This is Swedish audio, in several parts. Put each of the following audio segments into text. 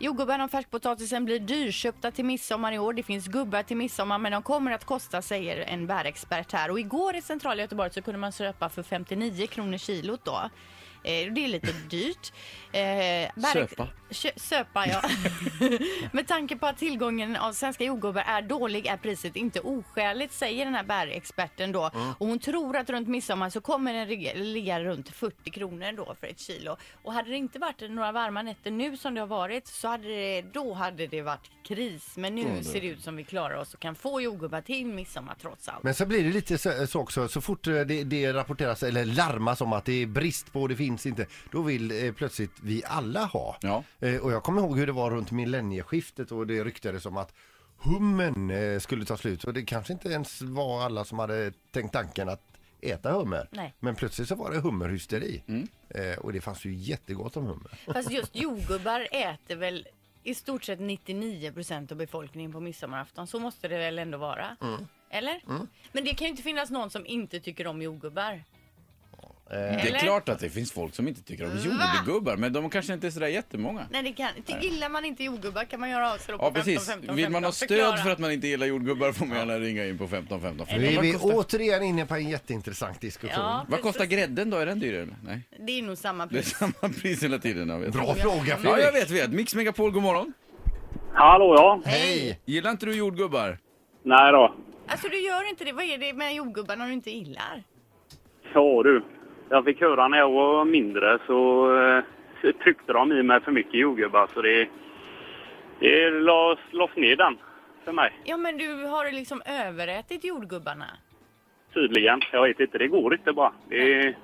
Jordgubbarna och färskpotatisen blir dyrköpta till midsommar i år. Det finns gubbar till midsommar men de kommer att kosta säger en bärexpert här. Och igår i centrala Göteborg så kunde man köpa för 59 kronor kilot då. Eh, Det är lite dyrt. Eh, bärex- Söpa. Kö- söpa ja. Med tanke på att tillgången av svenska jordgubbar är dålig är priset inte oskäligt säger den här bärexperten då. Och hon tror att runt midsommar så kommer den rig- ligga runt 40 kronor då för ett kilo. Och hade det inte varit några varma nätter nu som det har varit så hade det, då hade det varit kris. Men nu ser det ut som vi klarar oss och kan få jordgubbar till midsommar trots allt. Men sen blir det lite så, så också, så fort eh, det, det rapporteras eller larmas om att det är brist på och det finns inte, då vill eh, plötsligt vi alla ha. Ja. Eh, och jag kommer ihåg hur det var runt millennieskiftet och det ryktades om att hummen eh, skulle ta slut och det kanske inte ens var alla som hade tänkt tanken att äta hummer. Nej. Men plötsligt så var det hummerhysteri. Eh, och det fanns ju jättegott om hummer. Fast just jordgubbar äter väl i stort sett 99 procent av befolkningen på midsommarafton. Så måste det väl ändå vara? Mm. Eller? Men det kan ju inte finnas någon som inte tycker om jordgubbar. Det är Eller? klart att det finns folk som inte tycker om jordgubbar, men de kanske inte är sådär jättemånga. Nej, det kan inte. Gillar man inte jordgubbar kan man göra av sig då på Ja, precis. 15, 15, Vill man 15. ha stöd för Förklara. att man inte gillar jordgubbar får man gärna ringa in på 15 15 Nu är vi 15. återigen inne på en jätteintressant diskussion. Ja, Vad kostar precis. grädden då? Är den dyrare? eller? Nej, Det är nog samma det är pris. samma pris hela tiden. Jag vet. Bra fråga Ja, Fredrik! jag vet, vet. Mix Megapol, god morgon. Hallå ja. Hej! Gillar inte du jordgubbar? Nej då. Alltså du gör inte det. Vad är det med jordgubbarna du inte gillar? Ja du. Jag fick höra när jag var mindre så eh, tryckte de i mig för mycket jordgubbar så det, det lades, lades ner den för mig. Ja, men du har liksom överätit jordgubbarna. Tydligen. Jag vet inte, det går inte bara. Det,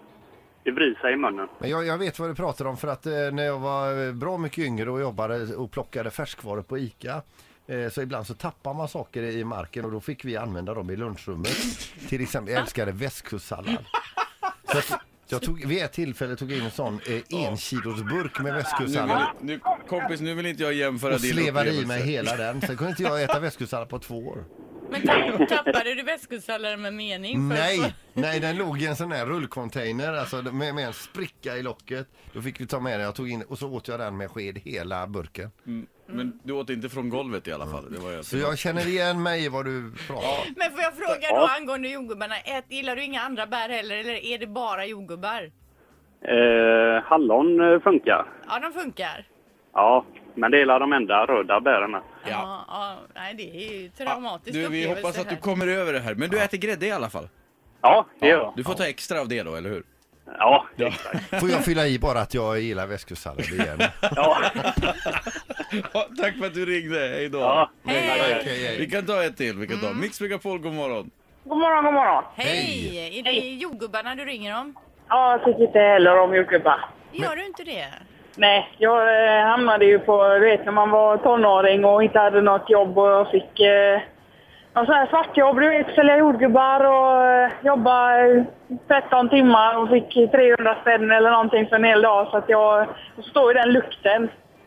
det vrir sig i munnen. Men jag, jag vet vad du pratar om för att eh, när jag var eh, bra mycket yngre och jobbade och plockade färskvaror på ICA eh, så ibland så tappar man saker i marken och då fick vi använda dem i lunchrummet. Till exempel, jag älskade västkustsallad. Så att jag tog, vid ett tillfälle tog jag in en sån eh, enkilosburk med Nu vill, västkustsallad nu, kompis, nu vill inte jag jämföra och din slevade i mig upplevelse. hela den. Sen kunde inte jag äta västkustsallad på två år. Men tapp- tappade du västkustsalladen med mening? För- Nej, nej den låg i en sån här rullcontainer alltså, med, med en spricka i locket. Då fick vi ta med den, jag tog in och så åt jag den med sked hela burken. Mm, Men du åt inte från golvet i alla fall. Det var jag. Så jag känner igen mig i vad du pratar om. Men får jag fråga då Ja. angående jordgubbarna, ät, gillar du inga andra bär heller eller är det bara jordgubbar? Eh, hallon eh, funkar. Ja, de funkar. Ja, men det är de enda röda bären. med. Ja. ja, ja, nej, det är ju Ja, traumatiskt du, vi upplevelse hoppas att här. du kommer över det här. Men du äter grädde i alla fall. Ja, det gör jag. Du får ta extra av det då, eller hur? Ja, exakt. Får jag fylla i bara att jag gillar västkustsallad igen? Ja. Ja, tack för att du ringde. Hej då. Ja. Hej! Okej, Vi hej. kan ta ett till. Vi kan ta. Mm. Mix Megapol, god morgon. God morgon, god morgon. Hej! Är det jordgubbarna du ringer om? Ja, jag tycker inte heller om jordgubbar. Gör du inte det? Nej, jag eh, hamnade ju på, du vet när man var tonåring och inte hade något jobb och jag fick eh, någon sån här svartjobb, du vet sälja jordgubbar och eh, jobba eh, 13 timmar och fick 300 spänn eller någonting för en hel dag så att jag står i den lukten.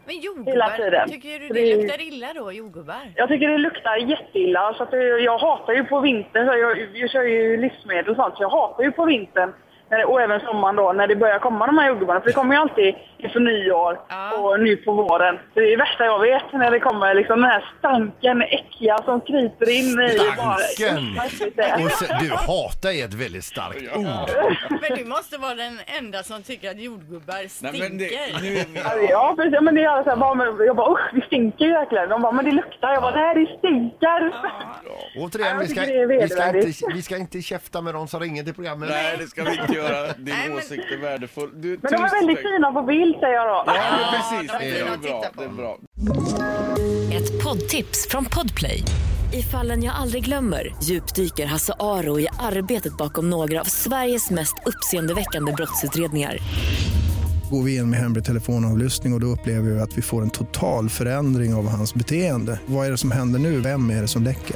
Men Hela jordgubbar, tiden. tycker du Det det är- luktar illa då, jordgubbar? Jag tycker det luktar jätteilla så att jag, jag hatar ju på vintern, så jag, jag kör ju livsmedel och sånt så jag hatar ju på vintern när det, och även sommaren då när det börjar komma de här jordgubbarna för det kommer ju alltid inför nyår Ja. och nu på våren. Så det är det värsta jag vet när det kommer liksom den här stanken, äckliga som kryper in i bara- Stanken! Och sen, du hatar är ett väldigt starkt ord. Men du måste vara den enda som tycker att jordgubbar Nej, stinker. men det, nu är vi... Ja precis, Ja, men det är alla så här, bara, men- jag bara usch det stinker ju verkligen. De bara men det luktar, jag bara nej det stinker. Återigen, Ja, vi jag ska, tycker det är vi, ska vedervärdigt. inte, vi ska inte käfta med de som ringer till programmet. Nej, det ska vi inte göra. Din Nej, men- åsikt är värdefull. Du, Men de är tusen väldigt tack. fina på bild säger jag då. Ja, men precis. Ja, de är det, fina är att bra. titta på. det är bra. Ett poddtips från Podplay. I fallen jag aldrig glömmer djupdyker Hasse Aro i arbetet bakom några av Sveriges mest uppseendeväckande brottsutredningar. Går vi in med hemlig telefonavlyssning och, och då upplever vi att vi får en total förändring av hans beteende. Vad är det som händer nu? Vem är det som läcker?